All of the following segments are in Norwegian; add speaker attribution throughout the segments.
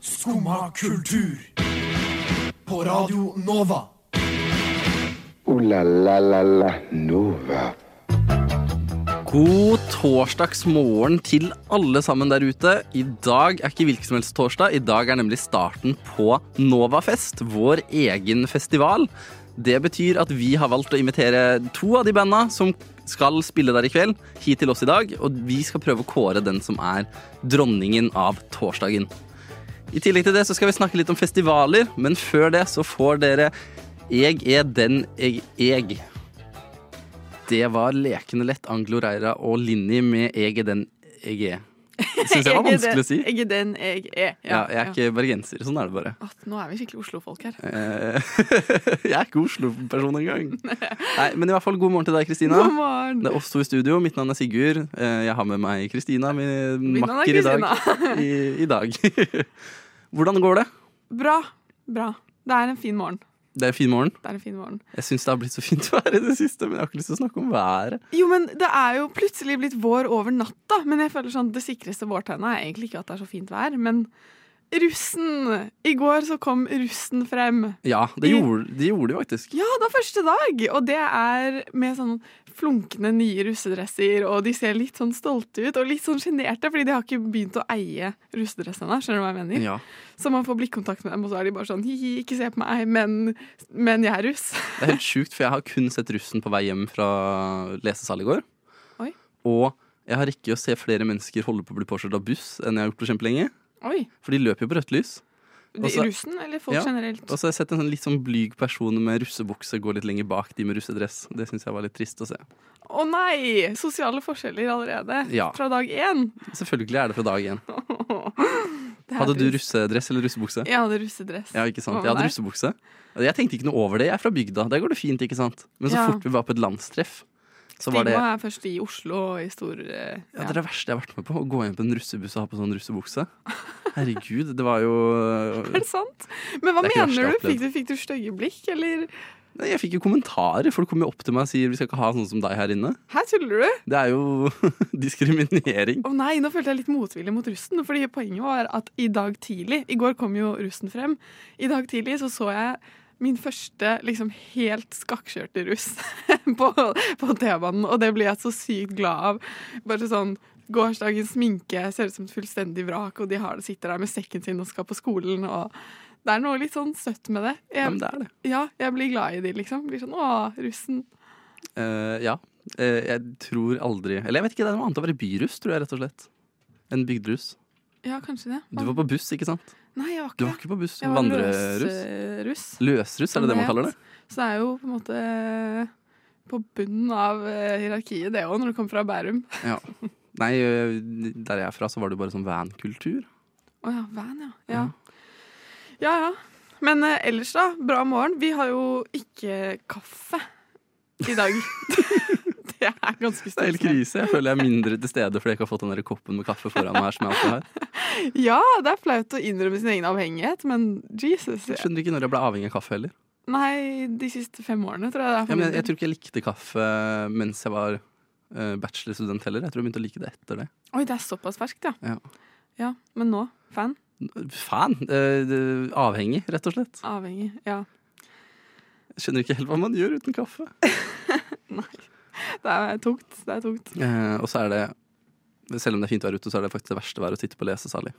Speaker 1: Skumma kultur. På Radio Nova.
Speaker 2: Ooh la la la la Nova.
Speaker 3: God torsdagsmorgen til alle sammen der ute. I dag er ikke hvilken som helst torsdag. I dag er nemlig starten på Novafest, vår egen festival. Det betyr at vi har valgt å invitere to av de banda som skal spille der i kveld, hit til oss i dag. Og vi skal prøve å kåre den som er dronningen av torsdagen. I tillegg til det så skal vi snakke litt om festivaler, men før det så får dere Jeg er den jeg jeg. Det var lekende lett Anglo Reira og Linni med Jeg er den jeg er. Det syns jeg var
Speaker 4: er
Speaker 3: vanskelig
Speaker 4: den-
Speaker 3: å si.
Speaker 4: Jeg er den jeg er.
Speaker 3: Ja, jeg er ikke bergenser. Sånn er det bare.
Speaker 4: At, nå er vi skikkelig Oslo-folk her.
Speaker 3: Eh, jeg er ikke Oslo-person engang. Nei, men i hvert fall god morgen til deg, Kristina.
Speaker 4: God morgen!
Speaker 3: Det er oss to i studio. Mitt navn er Sigurd. Eh, Jeg har med meg Kristina, min
Speaker 4: Mitt navn er
Speaker 3: makker i dag.
Speaker 4: Kristina.
Speaker 3: I, i dag. Hvordan går det?
Speaker 4: Bra. Bra. Det er en fin morgen.
Speaker 3: Det er en fin morgen.
Speaker 4: Det er en fin morgen.
Speaker 3: Jeg syns det har blitt så fint vær i det siste, men jeg har ikke lyst til å snakke om været.
Speaker 4: Jo, men det er jo plutselig blitt vår over natta. Men jeg føler sånn det sikreste vårtegnet er egentlig ikke at det er så fint vær, men russen! I går så kom russen frem.
Speaker 3: Ja, det gjorde det gjorde det faktisk.
Speaker 4: Ja, det er første dag! Og det er med sånn flunkende nye russedresser, og de ser litt sånn stolte ut, og litt sånn sjenerte, fordi de har ikke begynt å eie russedress ennå. Skjønner du hva jeg mener?
Speaker 3: Ja.
Speaker 4: Så man får blikkontakt med dem, og så er de bare sånn hi-hi, ikke se på meg, men, men jeg er russ.
Speaker 3: Det er helt sjukt, for jeg har kun sett russen på vei hjem fra lesesal i går.
Speaker 4: Oi.
Speaker 3: Og jeg har rekke å se flere mennesker holde på å bli påkjørt av buss enn jeg har gjort på kjempelenge.
Speaker 4: Oi.
Speaker 3: For de løper jo på rødt lys.
Speaker 4: De,
Speaker 3: Også-
Speaker 4: russen, eller folk
Speaker 3: Ja,
Speaker 4: generelt?
Speaker 3: Og så har jeg sett en sånn litt sånn blyg person med russebukse gå litt lenger bak de med russedress. Det syns jeg var litt trist å se.
Speaker 4: Å nei! Sosiale forskjeller allerede.
Speaker 3: Ja.
Speaker 4: Fra dag én.
Speaker 3: Selvfølgelig er det fra dag én.
Speaker 4: Det er
Speaker 3: Hadde du
Speaker 4: trist.
Speaker 3: russedress eller russebukse?
Speaker 4: Jeg hadde russedress.
Speaker 3: Ja, ikke sant? Jeg
Speaker 4: Hva med
Speaker 3: hadde
Speaker 4: deg?
Speaker 3: russebukse. Altså, Jeg tenkte ikke noe over det. Jeg er fra bygda. Der går det fint, ikke sant? Men så
Speaker 4: Ja.
Speaker 3: fort vi var på et landstreff, så var
Speaker 4: Stigma
Speaker 3: det
Speaker 4: er først i Oslo og i stor
Speaker 3: Ja,
Speaker 4: eh, ja.
Speaker 3: det er det verste jeg har vært med på. Å gå inn på en russebuss og ha på sånn russebukse. Herregud, det var jo
Speaker 4: Er det sant? Men hva
Speaker 3: Det er ikke det verste jeg
Speaker 4: mener
Speaker 3: har
Speaker 4: du? Fikk du, fikk du stygge blikk, eller?
Speaker 3: Nei, Jeg fikk jo kommentarer. Folk kom jo opp til meg og sier vi skal ikke ha sånn som deg her inne.
Speaker 4: Hæ, tuller du?
Speaker 3: Det er jo diskriminering.
Speaker 4: Å nei, nå følte jeg litt motvillig mot russen. Fordi poenget var at i dag tidlig I går kom jo russen frem. I dag tidlig så så jeg min første liksom helt skakkskjørte russ på, på T-banen. Og det ble jeg så sykt glad av. Bare sånn gårsdagens sminke ser ut som et fullstendig vrak, og de har det, sitter der med sekken sin og skal på skolen. og det er noe litt sånn søtt med det.
Speaker 3: Ja,
Speaker 4: Jeg,
Speaker 3: men det er det.
Speaker 4: ja, jeg blir glad i de, liksom. Blir sånn Å, russen.
Speaker 3: Eh, ja. Eh, jeg tror aldri Eller jeg vet ikke, det er noe annet å være byruss, tror jeg, rett og slett. Enn bygderuss.
Speaker 4: Ja, kanskje det.
Speaker 3: Du var på buss, ikke sant?
Speaker 4: Nei, jeg var
Speaker 3: Du
Speaker 4: ikke
Speaker 3: var
Speaker 4: det.
Speaker 3: ikke på buss.
Speaker 4: Jeg var
Speaker 3: Vandreruss.
Speaker 4: løsruss.
Speaker 3: Løsruss, er det det man kaller det?
Speaker 4: Så det er jo på en måte på bunnen av eh, hierarkiet, det òg, når du kommer fra Bærum.
Speaker 3: Ja. Nei, eh, der jeg er fra, så var det jo bare sånn vankultur.
Speaker 4: Å ja, van, ja. Ja ja. ja. Men eh, ellers, da. Bra morgen. Vi har jo ikke kaffe i dag. det er ganske
Speaker 3: Det er helt
Speaker 4: stort.
Speaker 3: krise. Jeg føler jeg er mindre til stede fordi jeg ikke har fått den der koppen med kaffe foran meg. her som jeg alltid har.
Speaker 4: Ja, det er flaut å innrømme sin egen avhengighet, men Jesus.
Speaker 3: Jeg skjønner ikke når jeg ble avhengig av kaffe heller.
Speaker 4: Nei, de siste fem årene, tror jeg det er. for
Speaker 3: Ja, men
Speaker 4: min
Speaker 3: jeg, jeg
Speaker 4: del.
Speaker 3: tror ikke jeg likte kaffe mens jeg var eh, bachelorstudent heller. Jeg tror jeg begynte å like det etter det.
Speaker 4: Oi, det er såpass ferskt, ja.
Speaker 3: Ja.
Speaker 4: ja. Men nå? Fan?
Speaker 3: Fan! eh, det- avhengig, rett og slett.
Speaker 4: Avhengig. Ja.
Speaker 3: Jeg skjønner ikke helt hva man gjør uten kaffe.
Speaker 4: Det er tungt. Det er tungt.
Speaker 3: Eh, og så er det, selv om det er fint vær ute, så er det faktisk det verste været å sitte på lesesal i.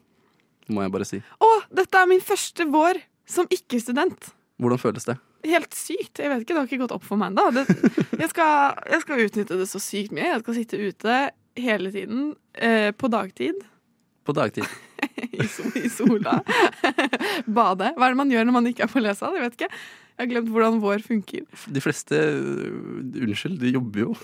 Speaker 3: Må jeg bare si.
Speaker 4: Å, dette er min første vår som ikke-student.
Speaker 3: Hvordan føles det?
Speaker 4: Helt sykt. Jeg vet ikke, Det har ikke gått opp for meg ennå. Det- Jeg, skal- jeg skal utnytte det så sykt mye. Jeg skal sitte ute hele tiden eh, på dagtid
Speaker 3: På dagtid.
Speaker 4: i, sol, i sola. Bade. Hva er det man gjør når man ikke er på lesesal? Jeg vet ikke. Jeg har glemt hvordan vår funker.
Speaker 3: De fleste øh, Unnskyld, de jobber jo.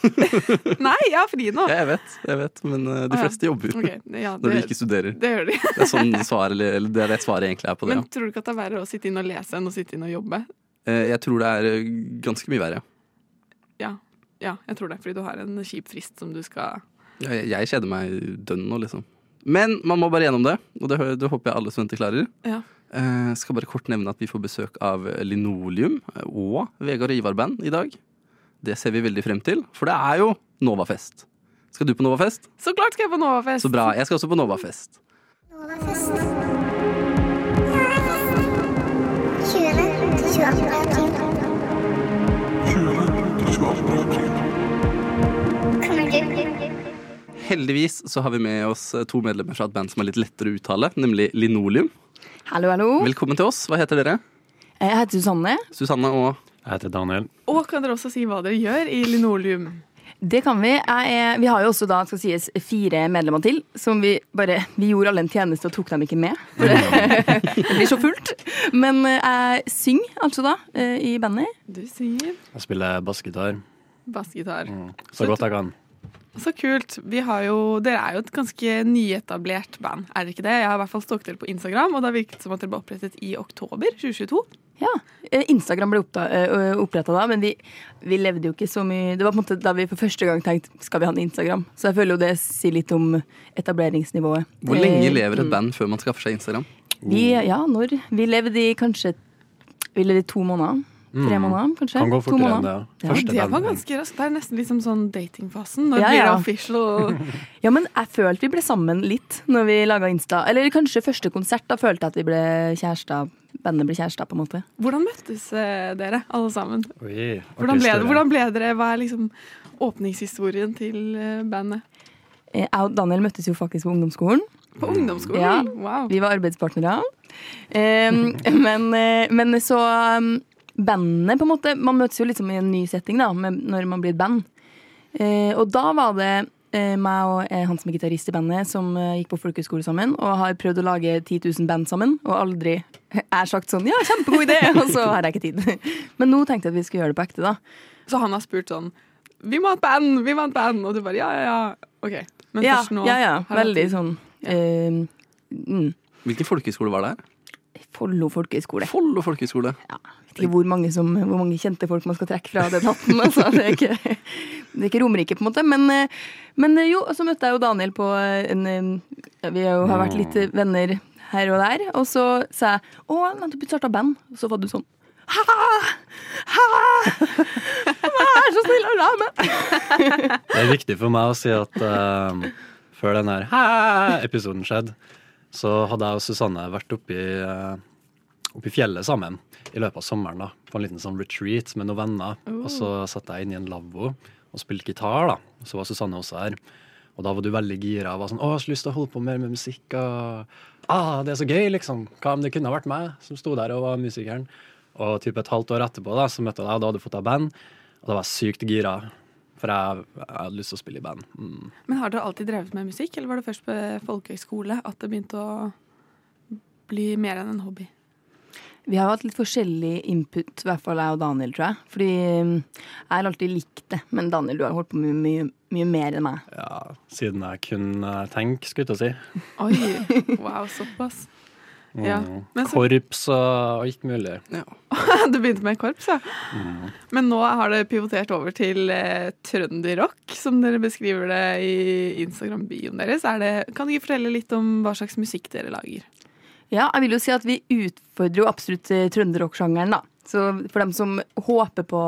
Speaker 4: Nei, jeg har fri nå.
Speaker 3: Ja, jeg vet, jeg vet, men øh, de
Speaker 4: Å, ja.
Speaker 3: fleste jobber jo.
Speaker 4: Ok, ja,
Speaker 3: Når de
Speaker 4: det,
Speaker 3: ikke studerer.
Speaker 4: det gjør de.
Speaker 3: Det er sånn svaret, eller, eller det er det svaret egentlig er på det.
Speaker 4: Men
Speaker 3: Ja.
Speaker 4: tror du ikke at det er verre å sitte inne og lese enn å sitte inne og jobbe?
Speaker 3: Eh, Jeg tror det er øh, ganske mye verre.
Speaker 4: Ja, ja jeg tror det. Fordi du har en kjip frist som du skal
Speaker 3: Jeg, jeg kjeder meg dønn nå, liksom. Men man må bare gjennom det, og det, hø- det håper jeg alle studenter klarer.
Speaker 4: Ja.
Speaker 3: Eh, skal bare kort nevne at vi får besøk av Linoleum og Vegard og Ivar-band i dag. Det ser vi veldig frem til, for det er jo Novafest. Skal du på Novafest?
Speaker 4: Så klart skal jeg på Novafest!
Speaker 3: Så bra. Jeg skal også på Novafest.
Speaker 5: Novafest. Jeg
Speaker 3: Heldigvis så har vi med oss to medlemmer fra et band som er litt lettere å uttale, nemlig Linoleum.
Speaker 5: Hallo, hallo.
Speaker 3: Velkommen til oss. Hva heter dere?
Speaker 5: Jeg heter Susanne.
Speaker 3: Susanne og
Speaker 6: Jeg heter Daniel.
Speaker 4: Og kan dere også si hva dere gjør i linoleum?
Speaker 5: Det kan vi. Jeg er, vi har jo også da, skal sies, fire medlemmer til, som vi bare Vi gjorde alle en tjeneste og tok dem ikke med. For det, det blir så fullt. Men eh, jeg synger altså da eh, i bandet.
Speaker 4: Du synger
Speaker 6: Jeg spiller bassgitar
Speaker 4: bassgitar.
Speaker 6: så godt jeg kan.
Speaker 4: Så kult. Vi har jo, dere er jo et ganske nyetablert band, er dere ikke det? Jeg har i hvert fall stalket dere på Instagram, og det har virket som at dere ble opprettet i oktober 2022.
Speaker 5: Ja. eh, Instagram ble oppretta da, men vi, vi levde jo ikke så mye Det var på en måte da vi for første gang tenkte skal vi ha en Instagram. Så jeg føler jo det sier litt om etableringsnivået.
Speaker 3: Hvor lenge
Speaker 5: Eh,
Speaker 3: lever et band før man skaffer seg Instagram?
Speaker 5: Vi, ja, når? Vi levde i kanskje Vi levde i to måneder. Tre måneder, kanskje.
Speaker 6: Mm. Kan gå
Speaker 5: to
Speaker 6: fortere enn det.
Speaker 5: måneder.
Speaker 6: ja.
Speaker 5: Ja,
Speaker 6: Første
Speaker 4: Det var
Speaker 6: band.
Speaker 4: ganske raskt. Det er nesten liksom sånn datingfasen. Når
Speaker 5: Ja,
Speaker 4: blir det
Speaker 5: ja.
Speaker 4: official?
Speaker 5: Ja, men jeg følte vi ble sammen litt når vi laga Insta. Eller kanskje første konsert, da følte jeg at vi ble kjærester. Bandet ble kjærester, på en måte.
Speaker 4: Hvordan møttes eh, dere, alle sammen?
Speaker 6: Oi, artig
Speaker 4: Hvordan ble,
Speaker 6: historie.
Speaker 4: hvordan ble dere? Hva er liksom åpningshistorien til eh, bandet?
Speaker 5: Eh, Jeg og Daniel møttes jo faktisk på ungdomsskolen.
Speaker 4: På ungdomsskolen?
Speaker 5: Ja.
Speaker 4: Wow.
Speaker 5: Vi var arbeidspartnere. Em, men, eh, men så um, Bandet, på en måte. Man møtes jo liksom i en ny setting da, med, når man blir et band. Eh, og da var det eh, meg og eh, han som er gitarist i bandet, som eh, gikk på folkehøyskole sammen, og har prøvd å lage 10 000 band sammen, og aldri er sagt sånn 'ja, kjempegod idé', og så har jeg ikke tid. Men nå tenkte jeg at vi skulle gjøre det på ekte, da.
Speaker 4: Så han har spurt sånn Vi må ha et band! Vi må ha et band! Og du bare ja, ja, ja. OK. Men
Speaker 5: Ja,
Speaker 4: først nå
Speaker 5: ja, ja.
Speaker 4: har jeg
Speaker 5: Veldig
Speaker 4: tid.
Speaker 5: sånn eh, mm,
Speaker 3: Hvilken folkehøyskole var det her?
Speaker 5: Follo folkehøgskole.
Speaker 3: Follo folkehøyskole.
Speaker 5: vet ikke hvor mange, som, hvor mange kjente folk man skal trekke fra den hatten. Altså. Det, er ikke, det er ikke Romerike, på en måte. Men, eh, men eh, jo, og så møtte jeg jo Daniel på eh, en eh, ja, Vi har jo har vært litt eh, venner her og der. Og så sa jeg å, men du starta band. Og så var du sånn Hæ? Hæ? Vær så snill å la meg!
Speaker 6: Det er viktig for meg å si at eh, før den her hæ-episoden skjedde, så hadde jeg og Susanne vært oppi, eh, oppi fjellet sammen i løpet av sommeren. da, På en liten sånn retreat med noen venner. Og så satt jeg inne i en lavvo og spilte gitar. da, og Så var Susanne også her. Og da var du veldig gira. og var sånn, å, jeg har så lyst til å holde på mer med musikk. og ah, Det er så gøy, liksom. Hva om det kunne ha vært meg som sto der og var musikeren? Og typ et halvt år etterpå da, så møtte jeg deg, og da hadde du fått deg band. Og da var jeg sykt gira, for jeg, jeg hadde lyst til å spille i band. Mm.
Speaker 4: Men har dere alltid drevet med musikk, eller var det først på folkehøyskole at det begynte å bli mer enn en hobby?
Speaker 5: Vi har jo hatt litt forskjellig input, i hvert fall jeg og Daniel, tror jeg. Fordi eh, jeg har alltid likt det, men Daniel, du har holdt på mye, mye, mye mer enn meg.
Speaker 6: Ja, siden jeg kunne tenke, skulle jeg til å si.
Speaker 4: Oi, wow, såpass. Ja. Men så,
Speaker 6: Korps og alt mulig.
Speaker 3: Ja.
Speaker 4: du begynte med korps, ja. Men nå har det pivotert over til eh, trønderrock, som dere beskriver det i Instagram-bioen deres. Er det, kan dere fortelle litt om hva slags musikk dere lager?
Speaker 5: Ja, jeg vil jo si at vi utfordrer jo absolutt eh, trønderrock-sjangeren, da. Så for dem som håper på,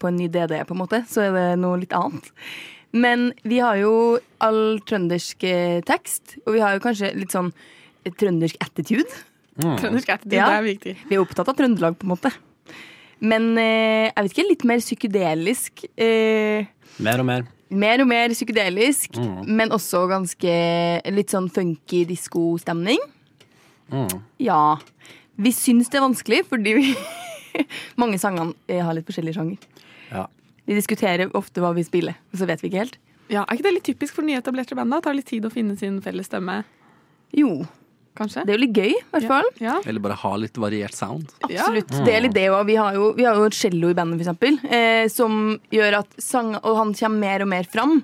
Speaker 5: på en ny DD, på en måte, så er det noe litt annet. Men vi har jo all trøndersk eh, tekst, og vi har jo kanskje litt sånn trøndersk attitude.
Speaker 4: Trøndersk attitude,
Speaker 5: Ja.
Speaker 4: det er viktig.
Speaker 5: Vi er opptatt av Trøndelag, på en måte. Men eh, jeg vet ikke, litt mer psykedelisk. Eh,
Speaker 6: Mer og mer.
Speaker 5: mer og mer psykedelisk, men også ganske litt sånn funky diskostemning.
Speaker 6: Mm.
Speaker 5: Ja. Vi syns det er vanskelig, fordi vi mange sangene eh, har litt forskjellige sjanger.
Speaker 6: Ja.
Speaker 5: Vi diskuterer ofte hva vi spiller, og så vet vi ikke helt.
Speaker 4: Ja, er ikke det litt typisk for nyetablerte band? da? Tar litt tid å finne sin felles stemme,
Speaker 5: Jo,
Speaker 4: kanskje?
Speaker 5: det er jo litt gøy, i hvert fall.
Speaker 4: Ja.
Speaker 3: Eller bare ha litt variert sound.
Speaker 4: Ja.
Speaker 5: Absolutt. Det er litt det også. Vi har jo, vi har jo et cello i bandet, for eksempel, eh, som gjør at sang, Og han kommer mer og mer fram.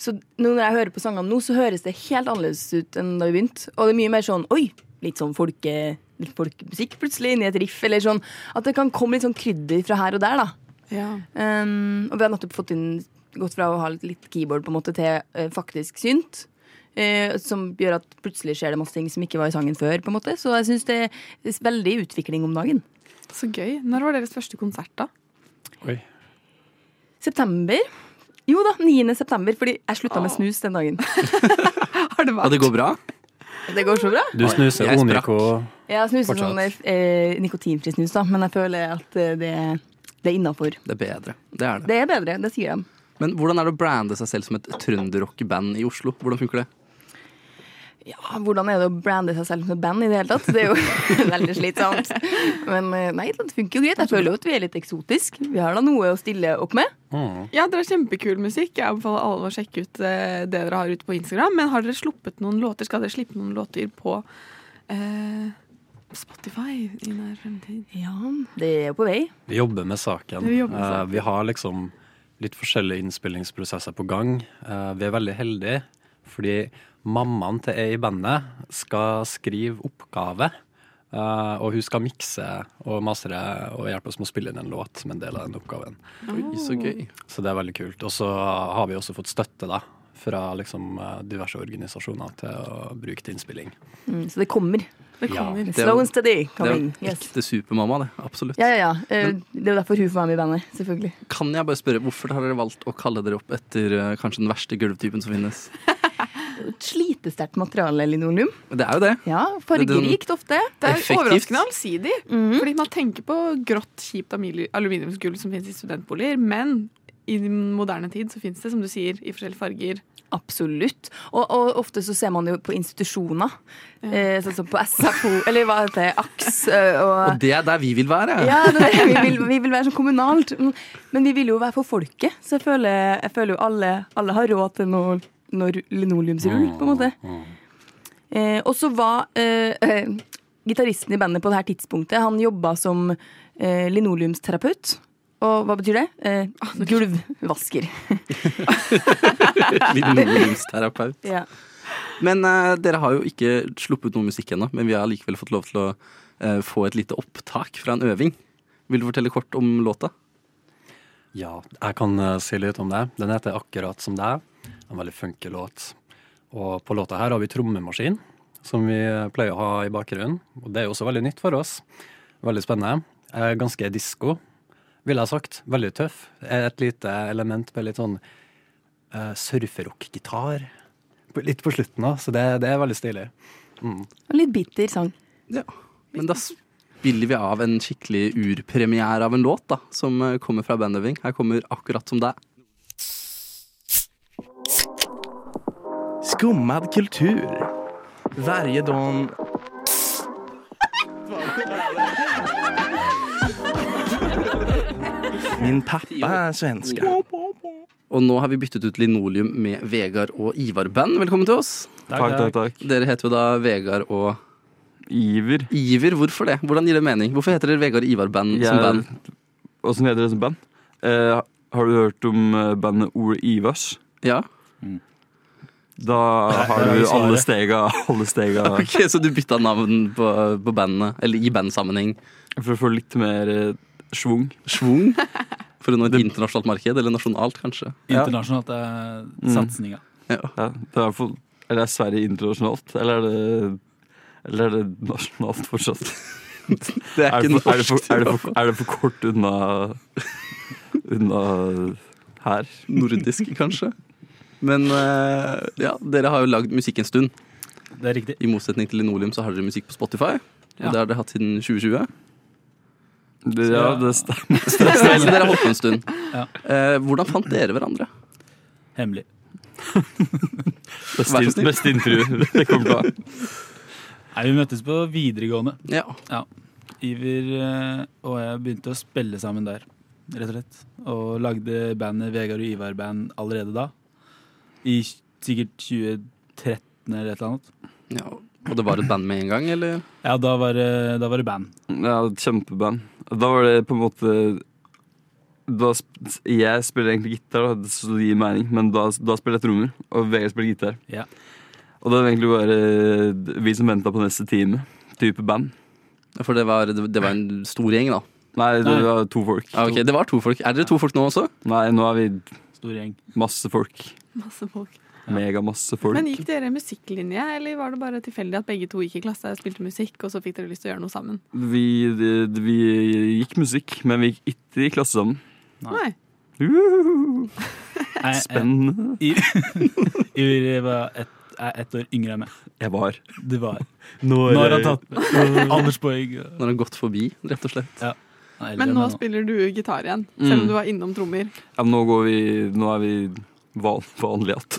Speaker 5: Så nå når jeg hører på sangene nå, så høres det helt annerledes ut enn da vi begynte. Og det er mye mer sånn Oi! Litt sånn folke, litt folkemusikk plutselig, inni et riff, eller sånn. At det kan komme litt sånn krydder fra her og der, da.
Speaker 4: Ja.
Speaker 5: Um, og vi har nettopp fått inn gått fra å ha litt, litt keyboard på en måte til eh, faktisk synt. eh, som gjør at plutselig skjer det masse ting som ikke var i sangen før. på en måte Så jeg syns det er veldig utvikling om dagen.
Speaker 4: Så gøy. Når var deres første konsert, da?
Speaker 6: Oi.
Speaker 5: September. Jo da, 9. september, fordi jeg slutta med
Speaker 4: Åh.
Speaker 5: snus den dagen.
Speaker 4: Har det
Speaker 3: Og
Speaker 4: vært?
Speaker 3: det går bra?
Speaker 5: Det går så bra.
Speaker 6: Du snuser
Speaker 3: jeg
Speaker 6: Oniko
Speaker 5: Jeg snuser
Speaker 6: Fortsatt.
Speaker 5: sånn eh, nikotinfri snus, da, men jeg føler at eh, det, det er innafor.
Speaker 3: Det er bedre. Det er det.
Speaker 5: Det er bedre, det sier de.
Speaker 3: Men hvordan er det å brande seg selv som et trønderrockband i Oslo? Hvordan funker det?
Speaker 5: Ja, hvordan er det å brande seg selv som et band i det hele tatt? Det er jo veldig slitsomt. Men eh, nei, det funker jo greit. Jeg føler jo at vi er litt eksotiske. Vi har da noe å stille opp med.
Speaker 6: Mm.
Speaker 4: Ja, dere har kjempekul musikk. Jeg anbefaler alle å sjekke ut eh, det dere har ute på Instagram. Men har dere sluppet noen låter? Skal dere slippe noen låter på eh, Spotify i nær fremtid?
Speaker 5: Ja, det er jo på vei.
Speaker 6: Vi jobber med saken.
Speaker 4: Vi jobber med
Speaker 6: Eh,
Speaker 4: saken.
Speaker 6: vi har liksom litt forskjellige innspillingsprosesser på gang. Eh, vi er veldig heldige, fordi mammaen til ei i bandet skal skrive oppgave. eh, og hun skal mikse og mastre og hjelpe oss med å spille inn en låt som en del av den oppgaven.
Speaker 3: Oi, så
Speaker 5: Mm.
Speaker 3: gøy.
Speaker 6: Så det er veldig kult. Og så har vi også fått støtte da, fra liksom, eh, diverse organisasjoner til å bruke til innspilling.
Speaker 5: Mm, så det kommer.
Speaker 4: Det
Speaker 6: Ja.
Speaker 4: kommer.
Speaker 3: Det er jo-
Speaker 5: Slow and steady
Speaker 3: Det er
Speaker 5: coming.
Speaker 3: jo
Speaker 5: Yes.
Speaker 3: ekte supermamma, det. Absolutt.
Speaker 5: Ja, ja, ja. Eh, Det er jo derfor hun får være med i bandet, selvfølgelig.
Speaker 3: Kan jeg bare spørre, hvorfor har dere valgt å kalle dere opp etter eh, kanskje den verste gulvtypen som finnes?
Speaker 5: Et slitesterkt materiale, linoleum.
Speaker 3: Det er jo det.
Speaker 5: Ja, fargerikt ofte.
Speaker 4: Det er
Speaker 3: Effektivt.
Speaker 4: overraskende allsidig.
Speaker 5: Mhm.
Speaker 4: Fordi man tenker på grått, kjipt amili- aluminiumsgulv som finnes i studentboliger, men i den moderne tid så finnes det, som du sier, i forskjellige farger.
Speaker 5: Absolutt. Og, og ofte så ser man det jo på institusjoner. Eh, sånn som på SFO, eller hva heter det, AKS eh,
Speaker 3: Og
Speaker 5: og
Speaker 3: det er der vi vil være.
Speaker 5: ja, det er det. vi, vil, vi vil være sånn kommunalt. Mm. Men vi vil jo være for folket, så jeg føler, jeg føler jo alle, alle har råd til noe, noe linoleumsrull, på en måte. Eh, og så var eh, eh, gitaristen i bandet på det her tidspunktet Han jobba som eh, linoleumsterapeut. Og hva betyr det? Eh, gulvvasker.
Speaker 3: Linoleumsterapeut.
Speaker 5: Ja.
Speaker 3: Men eh, dere har jo ikke sluppet noe musikk ennå, men vi har likevel fått lov til å eh, få et lite opptak fra en øving. Vil du fortelle kort om låta?
Speaker 6: Ja, jeg kan eh, si litt om det. Den heter Akkurat som deg. En veldig funky låt. Og på låta her har vi trommemaskin, som vi pleier å ha i bakgrunnen. Og det er jo også veldig nytt for oss. Veldig spennende. Eh, Ganske disko, ville jeg sagt. Veldig tøff. Eh, Et lite element med litt sånn uh, surferock-gitar. På- Litt på slutten òg, så det, det er veldig stilig.
Speaker 5: En litt bitter sang.
Speaker 3: Ja. Men da spiller vi av en skikkelig urpremiere av en låt da, som eh, kommer fra bandøving. Her kommer akkurat som deg.
Speaker 7: Skummad kultur. Varje dag... Min pappa är svenska.
Speaker 3: Og nå har vi byttet ut linoleum med Vegard og Ivar-band. Velkommen til oss.
Speaker 7: Tack, tack, tack.
Speaker 3: Dere heter jo da Vegard og
Speaker 7: Iver.
Speaker 3: Iver. Hvorfor det? Hvordan gir det mening? Hvorfor heter dere Vegard og Ivar-band som
Speaker 7: Jeg,
Speaker 3: band?
Speaker 7: åssen heter det som band? Eh, har du hørt om eh, bandet Ole Ivers?
Speaker 3: Ja?
Speaker 7: Da har du alle stega, alle stega
Speaker 3: Ok, Så du bytta navn på, på bandene, eller i bandsammenheng.
Speaker 7: for å få litt mer eh, schwung.
Speaker 3: Schwung? For å nå et internasjonalt marked, eller nasjonalt kanskje.
Speaker 8: Internasjonalt er
Speaker 6: Mm.
Speaker 8: satsinga.
Speaker 3: Ja.
Speaker 7: Ja, det er i hvert fall Eller er Sverige internasjonalt? Eller er det, eller er det nasjonalt fortsatt?
Speaker 3: Det er
Speaker 7: Er det,
Speaker 3: ikke
Speaker 7: for, er, det for,
Speaker 3: norsk.
Speaker 7: er, det for, er det for kort unna Unna her?
Speaker 3: Nordisk, kanskje. Men eh, ja, dere har jo lagd musikk en stund.
Speaker 8: Det er riktig.
Speaker 3: I motsetning til Linoleum så har dere musikk på Spotify. Og
Speaker 8: Ja.
Speaker 3: det har dere hatt siden 2020.
Speaker 7: Det, ja, det stemmer.
Speaker 3: Så dere har holdt på en stund.
Speaker 8: Ja.
Speaker 3: Eh, hvordan fant dere hverandre?
Speaker 8: Hemmelig.
Speaker 7: Beste,
Speaker 3: så snill.
Speaker 7: beste intervju jeg kom på.
Speaker 8: Nei, vi møttes på videregående.
Speaker 3: Ja,
Speaker 8: Iver eh, og jeg begynte å spille sammen der, rett og slett. Og lagde bandet Vegard og Ivar-band allerede da. I sikkert 2013 eller et eller annet.
Speaker 3: ja. Og det var et band med en gang, eller?
Speaker 8: Ja, da var det, da var det band.
Speaker 7: Ja, et kjempeband. Da var det på en måte da, sp- Jeg spiller egentlig gitar, da, så det gir mening, men da, da spiller jeg trommer. Og Vegard spiller gitar.
Speaker 8: Ja.
Speaker 7: Og det var egentlig bare vi som venta på neste time. Type band.
Speaker 3: For det var, det var en stor gjeng, da.
Speaker 7: Nei, det
Speaker 8: Nei.
Speaker 7: var to folk.
Speaker 3: Ja, ok, Det var to folk. Er dere to folk nå også?
Speaker 7: Nei, nå er vi
Speaker 8: Stor gjeng.
Speaker 7: masse folk.
Speaker 4: Masse folk.
Speaker 7: Megamasse folk.
Speaker 4: Men gikk dere musikklinje, eller var det bare tilfeldig at begge to gikk i klasse og spilte musikk, og så fikk dere lyst til å gjøre noe sammen?
Speaker 7: Vi, det- det- vi gikk musikk, men vi gikk ikke i klasse sammen.
Speaker 4: Nei.
Speaker 7: Uhuhu.
Speaker 8: Nei, jeg-
Speaker 7: Spennende.
Speaker 8: I- Iver var et
Speaker 1: er ett år yngre enn meg.
Speaker 7: Jeg var.
Speaker 1: Det var
Speaker 7: Når,
Speaker 1: Nå har han tatt alderspoeng.
Speaker 3: Nå har han gått forbi, rett og slett.
Speaker 1: Nei,
Speaker 4: Men nå
Speaker 1: spiller
Speaker 4: spiller du gitar igjen, selv om
Speaker 7: Mm.
Speaker 4: du var innom trommer.
Speaker 7: Ja, men nå går vi Nå er vi van, vanlig att.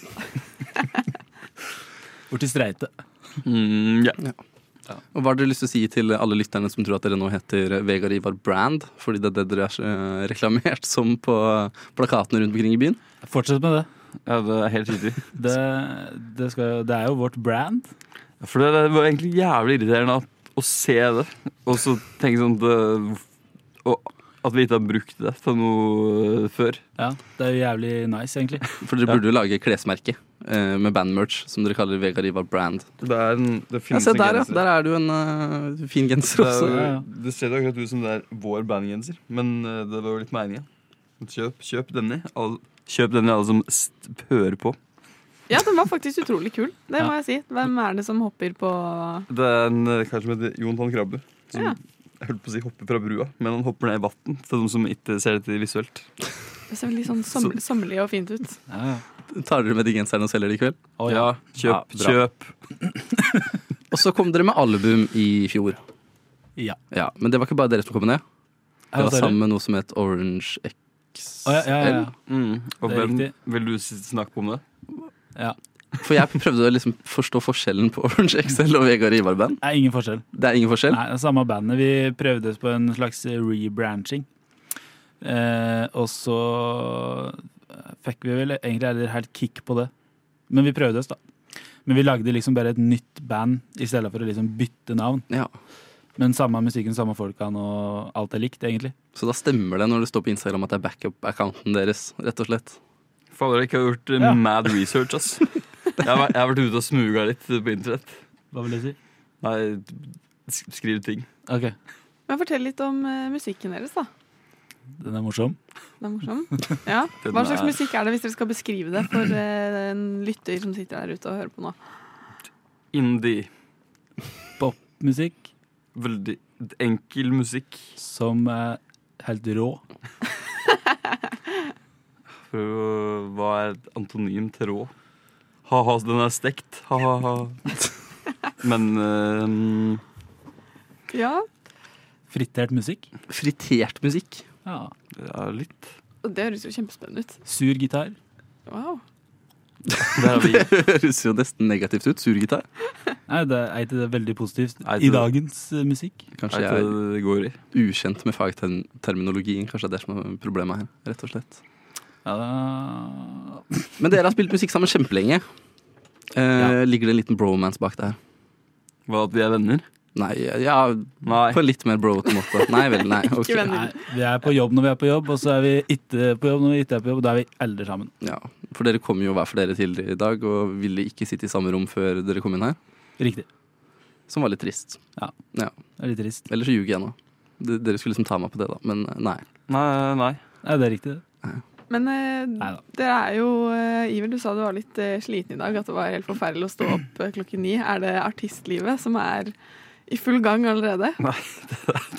Speaker 1: Bort til streite.
Speaker 7: Mm, ja.
Speaker 3: Og Hva har dere lyst til å si til alle lytterne som tror at dere nå heter Vegard Ivar Brand? Fordi det er det dere er eh, reklamert som på plakatene rundt omkring i byen?
Speaker 1: Fortsett med det.
Speaker 7: ja, det er helt riktig.
Speaker 1: Det, det, skal, det er jo vårt brand.
Speaker 7: For det, det var egentlig jævlig irriterende at, å se det, og så tenke sånn at, det- og, at vi ikke har brukt det til noe eh, før.
Speaker 1: Ja, det er jo jævlig nice, egentlig.
Speaker 3: For dere burde jo lage klesmerke eh, med bandmerch som dere kaller Vegard Ivar Brand.
Speaker 7: Det, er en, det
Speaker 3: Ja,
Speaker 7: finnes
Speaker 3: se
Speaker 7: en
Speaker 3: der, ja.
Speaker 7: genser.
Speaker 3: Der er det jo en eh, fin genser
Speaker 7: Det,
Speaker 3: også.
Speaker 7: er,
Speaker 1: ja, ja.
Speaker 7: det ser jo akkurat ut som det er vår bandgenser, men eh, det var jo litt meninga. Kjøp, kjøp denne. Alle, kjøp denne, alle som st hører på.
Speaker 4: Ja, den var faktisk utrolig kul. Det
Speaker 1: Ja.
Speaker 4: må jeg si. Hvem er det som hopper på
Speaker 7: Det er en eh, kar som heter Jon Tann Krabbe. Som
Speaker 4: Ja.
Speaker 7: jeg holdt på å si hopper fra brua, men han hopper ned i vann. Til de som ikke ser dette visuelt.
Speaker 4: Det ser veldig sånn som- sommerlig og fint ut.
Speaker 1: Ja, ja.
Speaker 3: Tar dere med de genserne og selger de i kveld?
Speaker 1: Å,
Speaker 7: Ja,
Speaker 1: ja.
Speaker 3: Ja,
Speaker 7: kjøp,
Speaker 3: bra.
Speaker 7: kjøp.
Speaker 3: Og så kom dere med album i fjor.
Speaker 1: Ja.
Speaker 3: Ja, Men det var ikke bare dere som kom med det. Det
Speaker 1: Hva
Speaker 3: var
Speaker 1: sa du?
Speaker 3: sammen med noe som het Orange XL.
Speaker 1: Å, ja, ja, ja, ja.
Speaker 7: Mm. Og
Speaker 1: Det er
Speaker 7: hvem
Speaker 1: riktig.
Speaker 7: vil du s- snakke om det?
Speaker 3: For jeg prøvde å liksom forstå forskjellen på Orange XL og Vegard Ivar-band.
Speaker 1: Det er ingen forskjell.
Speaker 3: Det er ingen forskjell.
Speaker 1: Nei, det er samme bandet. Vi prøvde oss på en slags rebranching. Eh, og så eh, fikk vi vel egentlig aldri helt kick på det. Men vi prøvde oss, da. Men vi lagde liksom bare et nytt band i stedet for å liksom bytte navn.
Speaker 3: Ja.
Speaker 1: Men samme musikken, samme folkene og alt er likt, egentlig.
Speaker 3: Så da stemmer det når det står på Instagram at det er backup-accounten deres. rett og slett.
Speaker 7: Fader, jeg ikke har gjort eh,
Speaker 1: Ja.
Speaker 7: mad research, ass. Jeg har, vært- jeg har vært ute og smuga litt på internett.
Speaker 1: Hva vil du si?
Speaker 7: Nei, sk- skriv ting.
Speaker 1: Ok,
Speaker 4: Men fortell litt om eh, musikken deres, da.
Speaker 1: Den er morsom.
Speaker 4: Den er morsom. Ja.
Speaker 7: Den
Speaker 4: Hva slags
Speaker 7: er-
Speaker 4: musikk er det, hvis dere skal beskrive det for eh, en lytter som sitter der ute og hører på nå?
Speaker 7: Indie.
Speaker 1: Popmusikk
Speaker 7: Veldig enkel musikk.
Speaker 1: som er helt rå.
Speaker 7: For å- hva er et antonym til rå? Ha-ha, den er stekt. Ha-ha-ha. Men eh,
Speaker 4: Ja,
Speaker 1: Fritert musikk.
Speaker 3: Fritert musikk.
Speaker 1: Ja.
Speaker 7: ja, litt.
Speaker 4: og Det høres jo kjempespennende ut.
Speaker 1: Sur gitar.
Speaker 4: Wow.
Speaker 7: Der er vi.
Speaker 3: Høres jo nesten negativt ut. Surgitar.
Speaker 1: Nei, det er ikke det veldig positivt
Speaker 7: Nei,
Speaker 1: i
Speaker 7: det-
Speaker 1: dagens eh, musikk.
Speaker 3: Kanskje
Speaker 7: Er
Speaker 3: jeg er
Speaker 7: ikke det det går i.
Speaker 3: ukjent med fagterminologien. Kanskje det er det som er problemet her. rett og slett.
Speaker 1: Ja,
Speaker 3: Men dere har spilt musikk sammen kjempelenge. Eh, Ligger det en liten bromance bak det her?
Speaker 7: Hva at vi er venner?
Speaker 3: Nei, ja,
Speaker 7: Nei.
Speaker 3: på en litt mer broete måte. Nei vel, nei. ok.
Speaker 4: venner.
Speaker 1: nei, vi er på jobb når vi er på jobb, og så er vi ikke på jobb når vi ikke er på jobb. og Da er vi aldri sammen.
Speaker 3: Ja, for dere kom jo hver for dere til i dag, og ville ikke sitte i samme rom før dere kom inn her.
Speaker 1: Riktig.
Speaker 3: Som var litt trist.
Speaker 1: Det er litt trist.
Speaker 3: Ellers så ljuger jeg nå. D- Dere skulle liksom ta meg på det, da, men eh, nei.
Speaker 7: Nei, nei.
Speaker 1: Nei, det er riktig.
Speaker 4: Men eh,
Speaker 1: Neida.
Speaker 4: dere er jo eh, Iver, du sa du var litt eh, sliten i dag. At det var helt forferdelig å
Speaker 3: Mm.
Speaker 4: stå opp eh, klokken ni. Er det artistlivet som er i full gang allerede?
Speaker 7: Det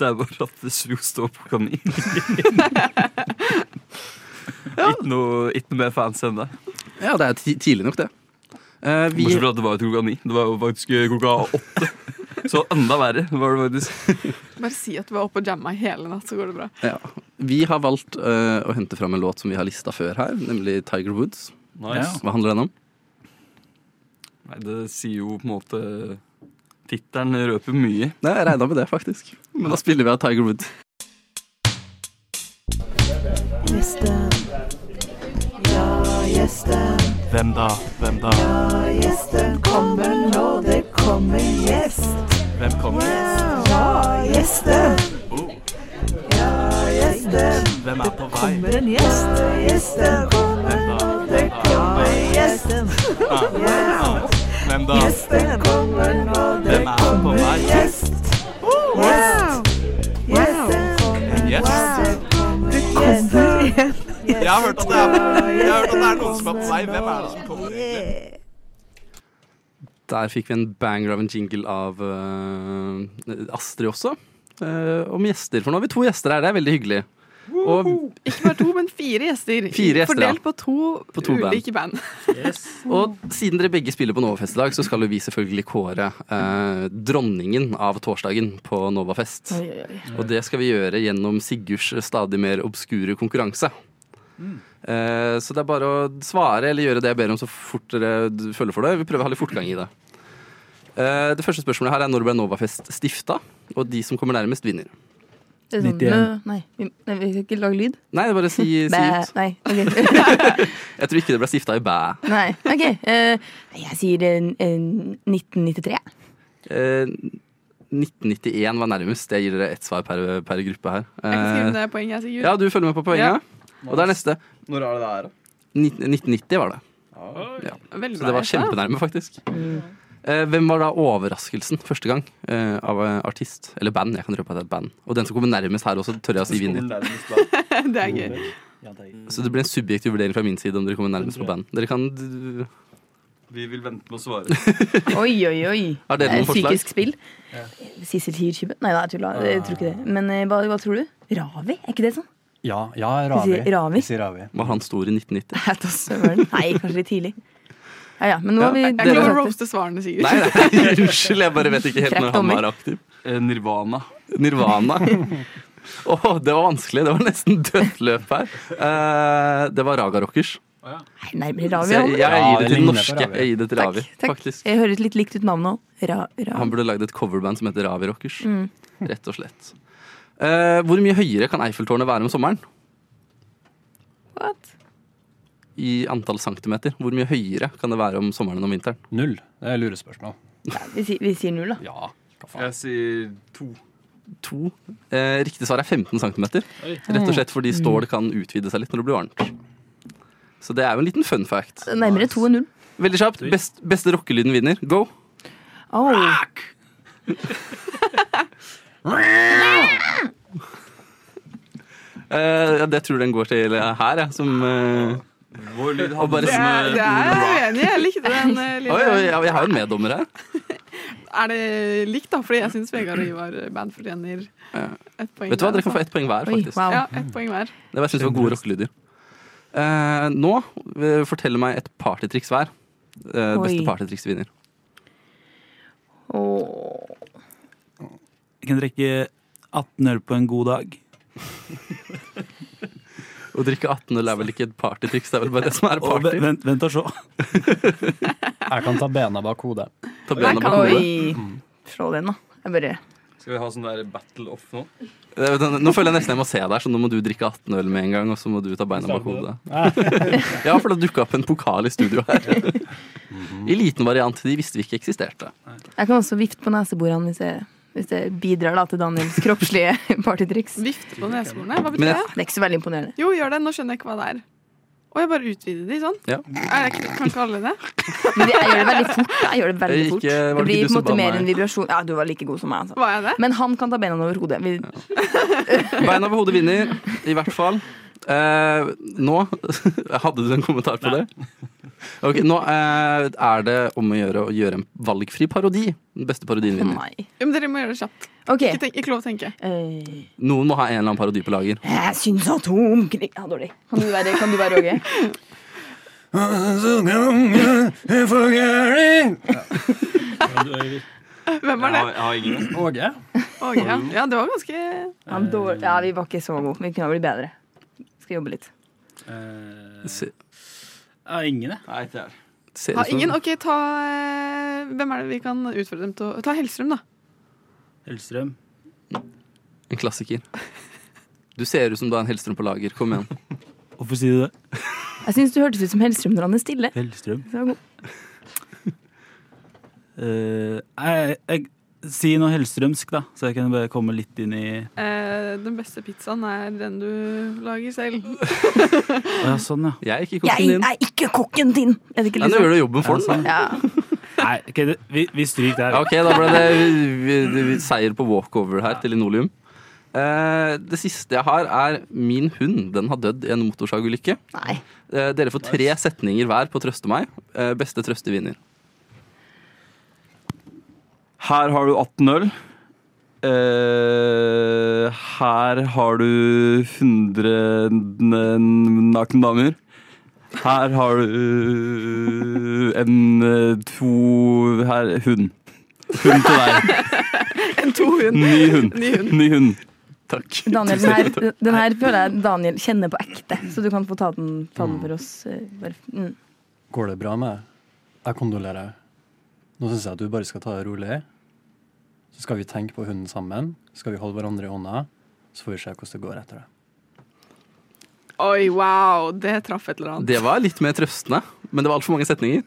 Speaker 7: er bare at det slo stå på kanin. Ikke noe, ikke noe mer fans enn det.
Speaker 3: Ja, det er ti- tidlig nok, det. Eh, vi,
Speaker 7: Bortsett fra at det var jo ikke klokka ni. Det var jo faktisk klokka åtte. Så enda verre var det faktisk.
Speaker 4: Bare si at du var oppe og jamma i hele natt, så går det bra.
Speaker 3: ja, vi har valgt eh, å hente fram en låt som vi har lista før her, nemlig Tiger Woods.
Speaker 1: Nice.
Speaker 3: Hva handler den om?
Speaker 7: Nei, det sier jo på en måte Tittelen røper mye.
Speaker 3: Nei, Jeg regna med det, faktisk. Men da spiller vi av Tiger Woods.
Speaker 9: Hvem da? Hvem da? Hvem kommer? Hvem er på vei? Hvem da? Hvem da? Ah, ah. Hvem da? Hvem er på vei? En gjest? Jeg har hørt at det er, jeg har hørt at det er noen som er på vei. Hvem er det som kommer?
Speaker 3: Der fikk vi en banger av en jingle av eh, Astrid også. eh, om gjester. For nå har vi to gjester her, det er veldig hyggelig. Og,
Speaker 4: Ikke bare to, men fire gjester.
Speaker 3: Fire gjester,
Speaker 4: Fordelt på to,
Speaker 3: På to band.
Speaker 4: ulike band.
Speaker 3: og siden dere begge spiller på Novafest i dag, så skal jo vi selvfølgelig kåre eh, dronningen av torsdagen på Novafest.
Speaker 5: Oi, oi, oi.
Speaker 3: Og det skal vi gjøre gjennom Sigurds stadig mer obskure konkurranse. Eh, så det er bare å svare eller gjøre det jeg ber om så fort dere d- føler for det. Vi prøver å ha litt fortgang i det. Eh, det første spørsmålet her er når ble Novafest stifta? Og de som kommer nærmest, vinner.
Speaker 5: Det er sånn,
Speaker 10: 91.
Speaker 5: mø- Nei, vi, nei, vi skal ikke lage lyd.
Speaker 3: Nei, det er bare si, si
Speaker 5: Bæ.
Speaker 3: ut.
Speaker 5: Nei, ok.
Speaker 3: Jeg tror ikke det ble stifta i bæ.
Speaker 5: nei, ok. Eh, jeg sier eh, eh, 1993.
Speaker 3: Eh, 1991 var nærmest. Jeg gir dere ett svar per, per gruppe her.
Speaker 4: Jeg kan skrive
Speaker 3: Eh,
Speaker 4: ned poenget, Sigurd.
Speaker 3: ja, du følger med på poenget. Og det er neste.
Speaker 11: Når er det det her, da?
Speaker 3: Nitten- 1990 var det.
Speaker 4: Veldig
Speaker 3: Så det
Speaker 4: bra
Speaker 3: var
Speaker 4: gjetta.
Speaker 3: kjempenærme, faktisk.
Speaker 5: Mm.
Speaker 3: Eh, hvem var da overraskelsen første gang eh, av eh, artist? Eller band. jeg kan røpe at det er et band Og den som kommer nærmest her også, tør jeg å si vinner.
Speaker 4: Det er gøy.
Speaker 3: Mm. Så det blir en subjektiv vurdering fra min side om dere kommer nærmest på band. Dere kan d-
Speaker 11: Vi vil vente med å svare.
Speaker 5: Oi, oi, oi. Eh,
Speaker 3: Har dere noen forslag?
Speaker 5: Psykisk spill. Sissel Hierkyben? Nei da, jeg tuller. Jeg tror ikke det. Men eh, hva, hva tror du? Ravi? Er ikke det sånn?
Speaker 6: Ja, ja,
Speaker 5: Ravi.
Speaker 6: Ravi.
Speaker 5: sier Ravi. Vi
Speaker 6: sier Ravi.
Speaker 3: Var han stor i 1990?
Speaker 5: Nei, da søren. Nei, kanskje litt tidlig. Ja, ja, men nå har vi
Speaker 3: Ja,
Speaker 4: Jeg
Speaker 3: Dere-
Speaker 4: klarer å
Speaker 5: dere-
Speaker 4: roaste svarene, Sigurd.
Speaker 3: Nei, nei, unnskyld. Jeg bare vet ikke helt når
Speaker 5: Kjeft
Speaker 3: han
Speaker 5: dommer.
Speaker 3: var aktiv.
Speaker 11: Eh, Nirvana.
Speaker 3: Nirvana. Åh, det var vanskelig. Det var nesten dødt løp her. Eh, det var Raga Rockers.
Speaker 5: Nei, Nærmere
Speaker 3: Så
Speaker 5: Ravi.
Speaker 3: jeg,
Speaker 5: han.
Speaker 3: jeg gir det til
Speaker 6: Ja, det
Speaker 3: den
Speaker 6: ligner på
Speaker 3: norske.
Speaker 6: Ravi.
Speaker 3: Jeg gir det til Ravi,
Speaker 5: Takk.
Speaker 3: faktisk.
Speaker 5: Jeg høres litt likt ut navnet òg. Ra, ra.
Speaker 3: Han burde lagd et coverband som heter Ravi Rockers.
Speaker 4: Mm.
Speaker 3: Rett og slett. Eh, hvor mye høyere kan Eiffeltårnet være om sommeren?
Speaker 5: What?
Speaker 3: I antall centimeter. Hvor mye høyere kan det være om sommeren enn om vinteren?
Speaker 6: Null. Det er lurespørsmål.
Speaker 5: Vi, sier, vi sier null, da.
Speaker 6: Ja, hva faen.
Speaker 11: Jeg sier to.
Speaker 3: To. Eh, riktig svar er 15 centimeter. Rett og slett fordi
Speaker 4: Mm.
Speaker 3: stål kan utvide seg litt når det blir varmt. Så det er jo en liten fun fact.
Speaker 5: Nærmere to enn null.
Speaker 3: Veldig kjapt. Best, beste rockelyden vinner. Go!
Speaker 5: Au.
Speaker 3: Eh, ja, det tror den går til eh, her, jeg, som eh,
Speaker 11: Vår lyd
Speaker 3: Og bare
Speaker 11: hadde
Speaker 4: Det er, det er jeg uenig i. Jeg likte den eh,
Speaker 3: Oi, oi,
Speaker 4: lille
Speaker 3: jeg, jeg har jo en meddommer her.
Speaker 4: Er det likt, da? Fordi jeg syns Vegard og Ivar eh, Band fortjener ett poeng.
Speaker 3: Vet du hva, Dere kan få
Speaker 4: hver,
Speaker 3: ett
Speaker 4: altså.
Speaker 3: poeng hver,
Speaker 5: Oi,
Speaker 3: faktisk.
Speaker 5: wow.
Speaker 4: Ja, ett poeng hver.
Speaker 3: Det var, jeg synes det var gode rockelyder. Eh, nå eh, fortell meg et partytriks hver. Eh, beste
Speaker 5: Oi.
Speaker 3: partytriks vinner.
Speaker 5: Åh.
Speaker 10: Jeg kan drikke 18 øl på en god dag.
Speaker 3: Å drikke 18 øl er vel ikke et partytriks, det er vel bare det som er
Speaker 10: Og
Speaker 3: party.
Speaker 10: ve- vent, vent og se.
Speaker 6: Jeg kan ta bena bak hodet.
Speaker 3: Ta bena bak hodet.
Speaker 5: Oi. Slå den, da. Jeg bare
Speaker 11: Skal vi ha sånn der battle off nå?
Speaker 3: Eh, vet du, Nå føler jeg nesten jeg må se deg, så nå må du drikke 18 øl med en gang. Og så må du ta beina bak hodet. Ja, for det dukka opp en pokal i studio her. I liten variant. De visste vi ikke eksisterte.
Speaker 5: Jeg kan også vifte på neseborene hvis, jeg- hvis det bidrar da, til Daniels kroppslige partytriks. Det
Speaker 4: Vifte på neseborene. Hva
Speaker 3: Men
Speaker 4: betyr
Speaker 3: jeg-
Speaker 4: det?
Speaker 5: er ikke så veldig imponerende.
Speaker 4: Jo, gjør det. Nå skjønner jeg ikke hva det er. Å, jeg bare utvider de sånn?
Speaker 3: Ja.
Speaker 4: Er det ikke, kan ikke alle det?
Speaker 5: Men jeg gjør det veldig fort. da. Jeg gjør det veldig
Speaker 3: Jeg gikk,
Speaker 5: fort.
Speaker 3: eh, var
Speaker 5: Det
Speaker 3: det ikke
Speaker 5: blir
Speaker 3: du
Speaker 5: på en
Speaker 3: som ba
Speaker 5: måte mer
Speaker 3: meg?
Speaker 5: en vibrasjon. Ja, du var like god som meg. Altså.
Speaker 4: Hva er det?
Speaker 5: Men han kan ta beina over hodet. Vi,
Speaker 3: Beina over hodet vinner, i hvert fall. Eh, nå Hadde du en kommentar på det? Ok, Nå eh, er det om å gjøre å gjøre en valgfri parodi. Den beste parodien
Speaker 5: Å
Speaker 3: vinner.
Speaker 5: nei.
Speaker 4: Jo, men dere må gjøre det kjapt.
Speaker 5: Ok.
Speaker 4: Ikke, tenk, ikke lov å tenke.
Speaker 5: eh,
Speaker 3: Noen må ha en eller annen parodi på lager.
Speaker 5: Jeg syns atomkrig Ja, dårlig. Kan du være, kan du være Åge?
Speaker 4: Hvem
Speaker 11: Jeg
Speaker 4: var det?
Speaker 11: har, jeg har ingen.
Speaker 6: Åge?
Speaker 4: Åge, ja.
Speaker 3: Mm.
Speaker 4: ja, det var ganske
Speaker 5: Ja, dårlig. ja, vi var ikke så gode. Vi kunne ha blitt bedre. Skal jobbe litt.
Speaker 3: Se-
Speaker 10: Ja, ingen, Eh, jeg.
Speaker 11: Nei, ikke jeg.
Speaker 3: ser
Speaker 4: Ha
Speaker 3: ut som-
Speaker 4: ingen. OK, ta eh, Hvem er det vi kan utfordre dem til å Ta Hellstrøm, da.
Speaker 10: Hellstrøm.
Speaker 3: En klassiker. Du ser ut som du har en Hellstrøm på lager. Kom igjen.
Speaker 10: Hvorfor sier du det?
Speaker 5: Jeg syns du hørtes ut som Hellstrøm når han er stille.
Speaker 10: Hellstrøm.
Speaker 5: Så god.
Speaker 10: Eh, jeg, jeg, si noe hellstrømsk, da, så jeg kan bare komme litt inn i
Speaker 4: Eh, den beste pizzaen er den du lager selv.
Speaker 10: Å ja, sånn, ja.
Speaker 3: Jeg gikk i kokken
Speaker 5: Jeg
Speaker 3: din.
Speaker 5: er ikke kokken din! Er det ikke
Speaker 3: Ja, nå
Speaker 5: liksom?
Speaker 3: gjør du jobben for den. da.
Speaker 5: Ja.
Speaker 10: Nei, ok, det- vi, vi stryker det her.
Speaker 3: Ok, da ble det vi- vi- vi- seier på walkover her til Linoleum. Eh, det siste jeg har, er min hund. Den har dødd i en motorsagulykke.
Speaker 5: Nei.
Speaker 3: Eh, Dere får tre setninger hver på Trøste meg. Eh, Beste trøste vinner.
Speaker 11: Her har du 18 øl. eh, her har du 100 n- nakne damer. Her har du eh, en eh, to Her, hund. Hund til deg.
Speaker 4: En to hund.
Speaker 11: Ny hund.
Speaker 4: Ny hund.
Speaker 11: Ny hund. Takk.
Speaker 5: Daniel, den her, den her føler jeg Daniel kjenner på ekte, så du kan få ta den, ta den for oss. eh, bare- Mm.
Speaker 6: Går det bra med deg? Jeg kondolerer. Nå syns jeg at du bare skal ta det rolig. Så skal vi tenke på hunden sammen. Så skal vi holde hverandre i hånda. Så får vi se hvordan det går etter det.
Speaker 4: Oi, wow, det traff et eller annet.
Speaker 3: Det var litt mer trøstende, men det var altfor mange setninger.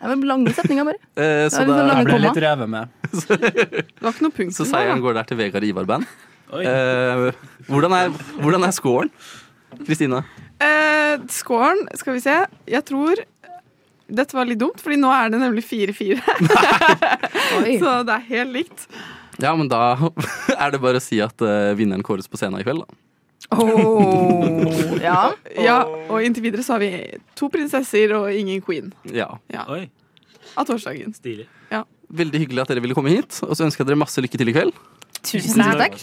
Speaker 5: Det var lange setninger, bare.
Speaker 3: Eh,
Speaker 5: Ja,
Speaker 3: Så,
Speaker 5: vi får
Speaker 3: da,
Speaker 5: lage-
Speaker 6: Jeg ble
Speaker 5: komma.
Speaker 6: litt revet med.
Speaker 4: Det var ikke noe punktum.
Speaker 3: så
Speaker 4: der, da.
Speaker 3: seieren går der til Vegard Ivar-band.
Speaker 10: Oi.
Speaker 3: Eh, hvordan, er- hvordan er scoren, Kristine?
Speaker 4: Eh, skåren, skal vi se. Jeg tror dette var litt dumt, fordi nå er det nemlig 4-4.
Speaker 5: Oi.
Speaker 4: Så det er helt likt.
Speaker 3: Ja, men da er det bare å si at eh, vinneren kåres på scenen i kveld, da.
Speaker 5: Åh, Ja.
Speaker 4: Ja, og inntil videre så har vi to prinsesser og ingen queen
Speaker 3: Ja.
Speaker 10: Oi,
Speaker 4: av torsdagen.
Speaker 10: stilig.
Speaker 3: Veldig hyggelig at dere ville komme hit, og så ønsker jeg dere masse lykke til i kveld.
Speaker 5: Tusen takk.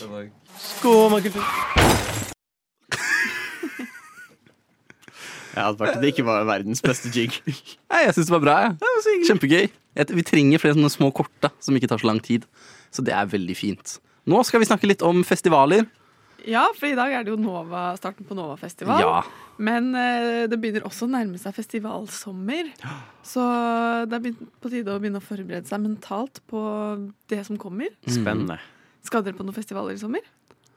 Speaker 7: Jeg hadde vært det ikke var verdens beste jig.
Speaker 3: Nei, jeg syns det var bra. jeg. Kjempegøy. Jeg- Vi trenger flere sånne små korte som ikke tar så lang tid. Så det er veldig fint. Nå skal vi snakke litt om festivaler.
Speaker 4: Ja, for i dag er det jo Nova, starten på Nova-festival.
Speaker 3: Ja,
Speaker 4: Men eh, det begynner også å nærme seg festivalsommer. Så det er begynt- på tide å begynne å forberede seg mentalt på det som kommer.
Speaker 7: Mm. Spennende.
Speaker 4: Skal dere på noen festivaler i sommer?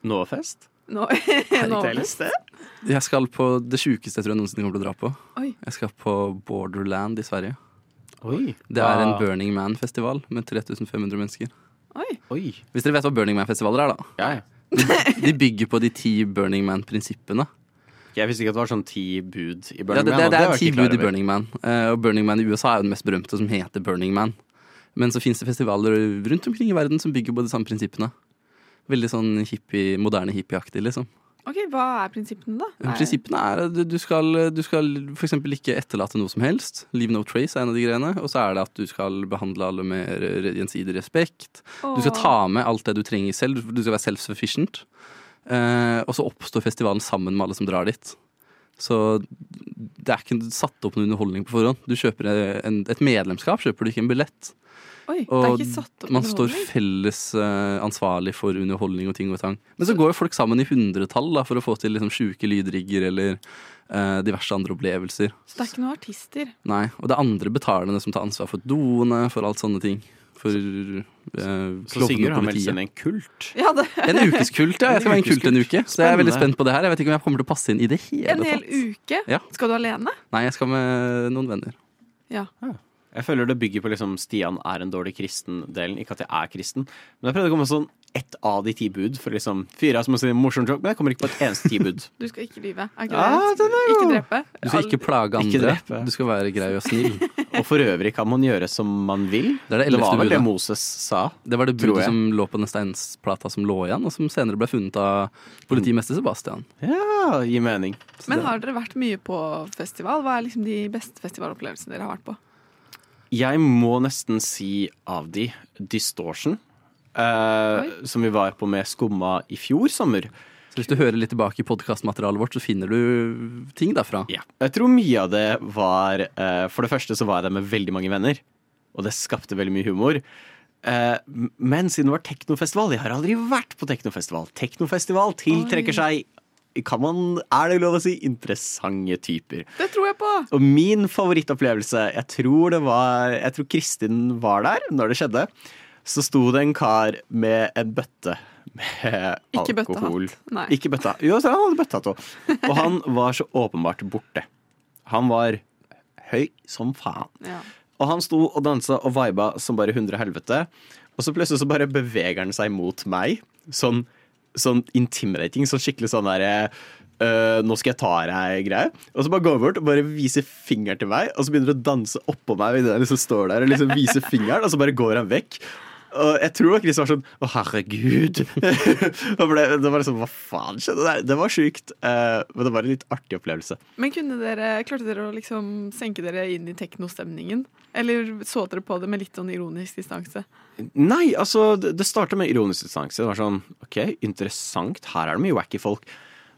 Speaker 7: Nåfest?
Speaker 4: Nå,
Speaker 7: Herregud, jeg har
Speaker 4: nå-
Speaker 7: lyst til det.
Speaker 3: jeg skal på det sjukeste jeg tror jeg noensinne kommer til å dra på.
Speaker 4: Oi.
Speaker 3: Jeg skal på Borderland i Sverige.
Speaker 7: Oi.
Speaker 3: Det er en
Speaker 7: Ah.
Speaker 3: Burning Man-festival med 3500 mennesker.
Speaker 4: Oi.
Speaker 7: Oi.
Speaker 3: Hvis dere vet hva Burning Man-festivaler er, da.
Speaker 7: Ja, ja.
Speaker 3: De bygger på de ti Burning Man-prinsippene.
Speaker 7: Jeg visste ikke at det var sånn ti bud i
Speaker 3: Ja,
Speaker 7: Burning
Speaker 3: det, det,
Speaker 7: Man. og
Speaker 3: det er
Speaker 7: var jeg
Speaker 3: ti
Speaker 7: ikke klar
Speaker 3: bud i
Speaker 7: over.
Speaker 3: Burning Man. Eh, og Burning Man i USA er jo den mest berømte, som heter Burning Man. Men så fins det festivaler rundt omkring i verden som bygger på de samme prinsippene. Veldig sånn hippie, moderne hippieaktig, liksom.
Speaker 4: Ok, Hva er prinsippene, da?
Speaker 3: Men Prinsippene er at du- du skal, du skal f.eks. ikke etterlate noe som helst. Leave no trace er en av de greiene. Og så er det at du skal behandle alle med re- gjensidig respekt. Du skal ta med alt det du trenger selv. Du skal være self-sufficient. Eh, og så oppstår festivalen sammen med alle som drar dit. Så det er ikke satt opp noen underholdning på forhånd. Du kjøper en, et medlemskap, kjøper du ikke en billett.
Speaker 4: Oi, det er
Speaker 3: Og
Speaker 4: ikke satt opp
Speaker 3: man står
Speaker 4: underholdning.
Speaker 3: felles eh, ansvarlig for underholdning og ting og tang. Men så går jo folk sammen i hundretall da, for å få til liksom, sjuke lydrigger eller eh, diverse andre opplevelser.
Speaker 4: Så det er ikke noen artister.
Speaker 3: Nei, Og det er andre betalende som tar ansvar for doene, for alt sånne ting. For eh,
Speaker 7: Så Sigurd
Speaker 3: klovnene og
Speaker 7: har meldt
Speaker 3: politiet.
Speaker 7: seg inn i en kult.
Speaker 4: Ja, det
Speaker 3: En ukeskult, ja. Jeg skal være en kult en uke. Så jeg er veldig spent på det her. Jeg vet ikke om jeg kommer til å passe inn i det hele
Speaker 4: En hel
Speaker 3: tatt.
Speaker 4: uke?
Speaker 3: Ja.
Speaker 4: Skal du alene?
Speaker 3: Nei, jeg skal med noen venner.
Speaker 7: Jeg føler det bygger på liksom Stian er en dårlig kristen-delen. Ikke at jeg er kristen, men jeg prøvde å komme med sånn ett av de ti bud. For liksom fire er som å si morsom joke, men jeg kommer ikke på et eneste ti bud.
Speaker 4: Du skal ikke lyve. Er ikke
Speaker 7: Ja,
Speaker 4: det? Ikke drepe.
Speaker 3: Du skal ikke plage
Speaker 7: Ikke
Speaker 3: andre.
Speaker 7: drepe.
Speaker 3: Du skal være grei og snill.
Speaker 7: Og for øvrig kan man gjøre som man vil.
Speaker 3: Det er det
Speaker 7: Det var
Speaker 3: ellevte
Speaker 7: vel det
Speaker 3: budet.
Speaker 7: Moses sa.
Speaker 3: Det var det
Speaker 7: Tror
Speaker 3: budet
Speaker 7: jeg.
Speaker 3: som lå på den steinsplata som lå igjen, og som senere ble funnet av politimester Sebastian.
Speaker 7: Ja, gir mening.
Speaker 4: Men har dere vært mye på festival? Hva er liksom de beste festivalopplevelsene dere har vært på?
Speaker 7: Jeg må nesten si av de Distortion, eh,
Speaker 4: Oi.
Speaker 7: som vi var på med Skumma i fjor sommer.
Speaker 3: Så hvis du hører litt tilbake i podkastmaterialet vårt, så finner du ting derfra.
Speaker 7: Ja. Jeg tror mye av det var eh, For det første så var jeg der med veldig mange venner, og det skapte veldig mye humor. Eh, m- men siden det var teknofestival Jeg har aldri vært på teknofestival. Teknofestival tiltrekker seg kan man, Er det lov å si interessante typer?
Speaker 4: Det tror jeg på!
Speaker 7: Og min favorittopplevelse Jeg tror det var Jeg tror Kristin var der når det skjedde. Så sto det en kar med en bøtte med
Speaker 4: Ikke
Speaker 7: alkohol.
Speaker 4: bøttehatt, nei.
Speaker 7: Ikke bøtta. Jo, så han hadde bøttehatt òg. Og han var så åpenbart borte. Han var høy som faen.
Speaker 4: Ja.
Speaker 7: Og han sto og dansa og viba som bare hundre helvete. Og så plutselig så bare beveger han seg mot meg. Sånn, sånn intimidating, sånn skikkelig sånn derre «Øh, nå skal jeg ta deg-greie. Og så bare går han bort og bare viser fingeren til meg, og så begynner han å danse oppå meg. Og jeg liksom står der og liksom viser fingeren, og så bare går han vekk. Og jeg tror nok Chris var sånn Å, herregud. Han ble, det var liksom Hva faen skjedde der? Det var sjukt. eh, men det var en litt artig opplevelse.
Speaker 4: Men kunne dere, klarte dere å liksom senke dere inn i teknostemningen? Eller så dere på det med litt sånn ironisk distanse?
Speaker 7: Nei, altså, det det startet med ironisk distanse. Det var sånn OK, interessant. Her er det mye wacky folk.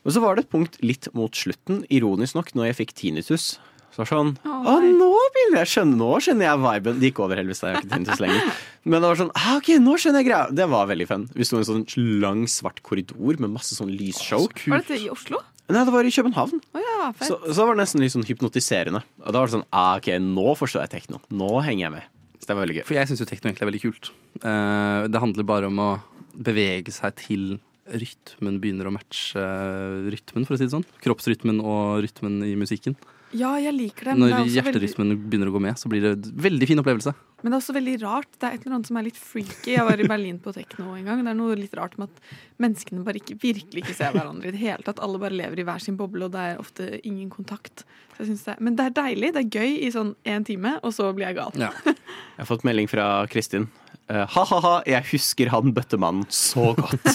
Speaker 7: Men så var det et punkt litt mot slutten, ironisk nok, når jeg fikk tinnitus. Så var det sånn Å,
Speaker 4: Å, nei.
Speaker 7: nå begynner jeg å skjønne Nå skjønner jeg viben. Det gikk over, heldigvis. da, Jeg har ikke tinnitus lenger. Men det var sånn ah, OK, nå skjønner jeg greia. Det var veldig fun. Vi sto i en sånn lang, svart korridor med masse sånn lysshow.
Speaker 4: Var dette i Oslo?
Speaker 7: Nei, det var i København.
Speaker 4: Å ja, fett.
Speaker 7: Så, så var det nesten litt sånn hypnotiserende. Og da var det sånn ah, OK, nå forstår jeg tekno. Nå henger jeg med. Så det var veldig gøy.
Speaker 3: For jeg syns jo tekno egentlig er veldig kult. Eh, det handler bare om å bevege seg til rytmen begynner å matche eh, rytmen, for å si det sånn. Kroppsrytmen og rytmen i musikken.
Speaker 4: Ja, jeg liker det. Men det,
Speaker 3: Når
Speaker 4: er også veldig,
Speaker 3: hjerterytmen begynner å gå med, så blir det en veldig fin opplevelse.
Speaker 4: men det er også veldig rart. Det er et eller annet som er litt freaky. Jeg var i Berlin på tekno en gang. Det er noe litt rart med at menneskene bare ikke, virkelig ikke ser hverandre i det hele tatt. Alle bare lever i hver sin boble, og det er ofte ingen kontakt. Så jeg synes det, men det er deilig. Det er gøy i sånn én time, og så blir jeg gal.
Speaker 3: Ja.
Speaker 7: Jeg har fått melding fra Kristin. Eh, Ha-ha-ha, jeg husker han bøttemannen så godt.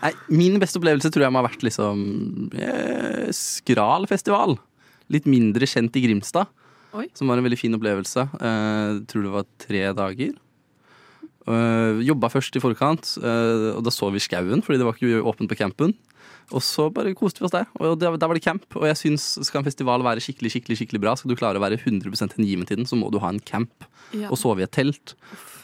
Speaker 3: Nei, min beste opplevelse tror jeg må ha vært liksom eh, Skral festival. Litt mindre kjent i Grimstad.
Speaker 4: Oi.
Speaker 3: Som var en veldig fin opplevelse. Eh, tror det var tre dager. Eh, jobba først i forkant, eh, og da sov vi i skauen fordi det var ikke åpent på campen. Og så bare koste vi oss der. Og der, der var det camp. Og jeg syns skal en festival være skikkelig skikkelig, skikkelig bra, skal du klare å være 100 hengiven til den, så må du ha en camp.
Speaker 4: Ja.
Speaker 3: Og sove i et telt.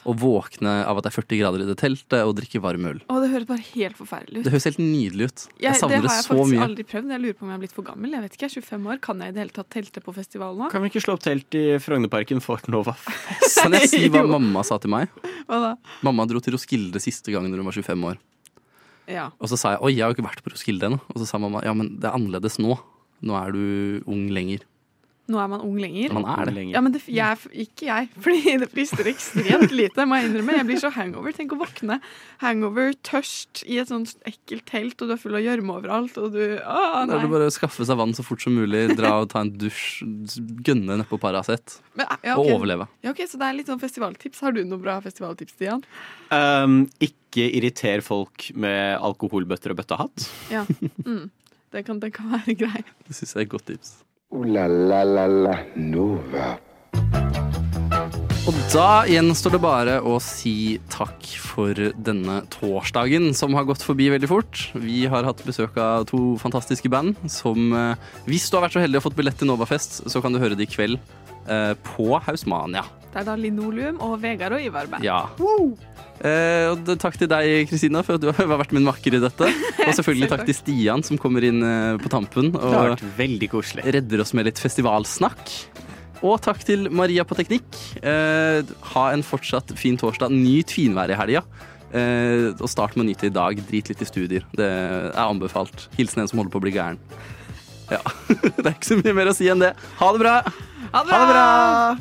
Speaker 3: Og våkne av at det er 40 grader i det teltet, og drikke varm øl.
Speaker 4: Å, det høres bare helt forferdelig ut.
Speaker 3: Det høres helt nydelig ut.
Speaker 4: Jeg-
Speaker 3: Jeg savner
Speaker 4: det
Speaker 3: det,
Speaker 4: har jeg
Speaker 3: så
Speaker 4: faktisk
Speaker 3: mye.
Speaker 4: aldri prøvd. Jeg lurer på om jeg er blitt for gammel. Jeg vet ikke, jeg er 25 år. Kan jeg i det hele tatt telte på festival nå?
Speaker 7: Kan vi ikke slå opp telt i Frognerparken for Nova?
Speaker 3: Kan jeg si hva
Speaker 4: Jo.
Speaker 3: mamma sa til meg?
Speaker 4: Hva da?
Speaker 3: Mamma dro til Roskilde siste gangen når hun var 25 år.
Speaker 4: Ja.
Speaker 3: Og så sa jeg oi, jeg har jo ikke vært på Roskilde ennå. Og så sa mamma ja, men det er annerledes nå. Nå er du ung lenger.
Speaker 4: Nå er man ung lenger.
Speaker 3: Man er det.
Speaker 4: Ja, men det, jeg, er f- ikke jeg, fordi det frister ekstremt lite, må jeg innrømme. Jeg blir så hangover. Tenk å våkne hangover, tørst, i et sånt ekkelt telt, og du er full av gjørme overalt, og du Å,
Speaker 3: Da
Speaker 4: nei.
Speaker 3: er det bare å skaffe seg vann så fort som mulig, dra og ta en dusj, gønne nedpå Paracet
Speaker 4: Men, ja,
Speaker 3: og
Speaker 4: ok.
Speaker 3: overleve.
Speaker 4: Ja, ok, Så det er litt sånn festivaltips. Har du noe bra festivaltips, Stian?
Speaker 7: Um, ikke irriter folk med alkoholbøtter og bøttehatt.
Speaker 4: Ja. Mm. Det, kan, det kan være greit.
Speaker 3: Det syns jeg er et godt tips.
Speaker 2: Ooh la la la la Nova.
Speaker 3: Og da gjenstår det bare å si takk for denne torsdagen, som har gått forbi veldig fort. Vi har hatt besøk av to fantastiske band som eh, Hvis du har vært så heldig og fått billett til Novafest, så kan du høre det i kveld eh, på Hausmania.
Speaker 4: Det er da Linoleum og Vegard og Ivar Band.
Speaker 3: Ja. Eh, og det- takk til deg, Kristina, for at du har vært min makker i dette. Og selvfølgelig takk til Stian, som kommer inn eh, på tampen.
Speaker 7: Det
Speaker 3: Og
Speaker 7: har vært veldig koselig.
Speaker 3: redder oss med litt festivalsnakk. Og takk til Maria på Teknikk. Eh, ha en fortsatt fin torsdag. Nyt finvær i helga. Eh, og start med å nyte i dag. Drit litt i studier. Det er anbefalt. Hilsen en som holder på å bli gæren. Ja. det er ikke så mye mer å si enn det. Ha det bra!
Speaker 4: Ha det bra! Ha det bra!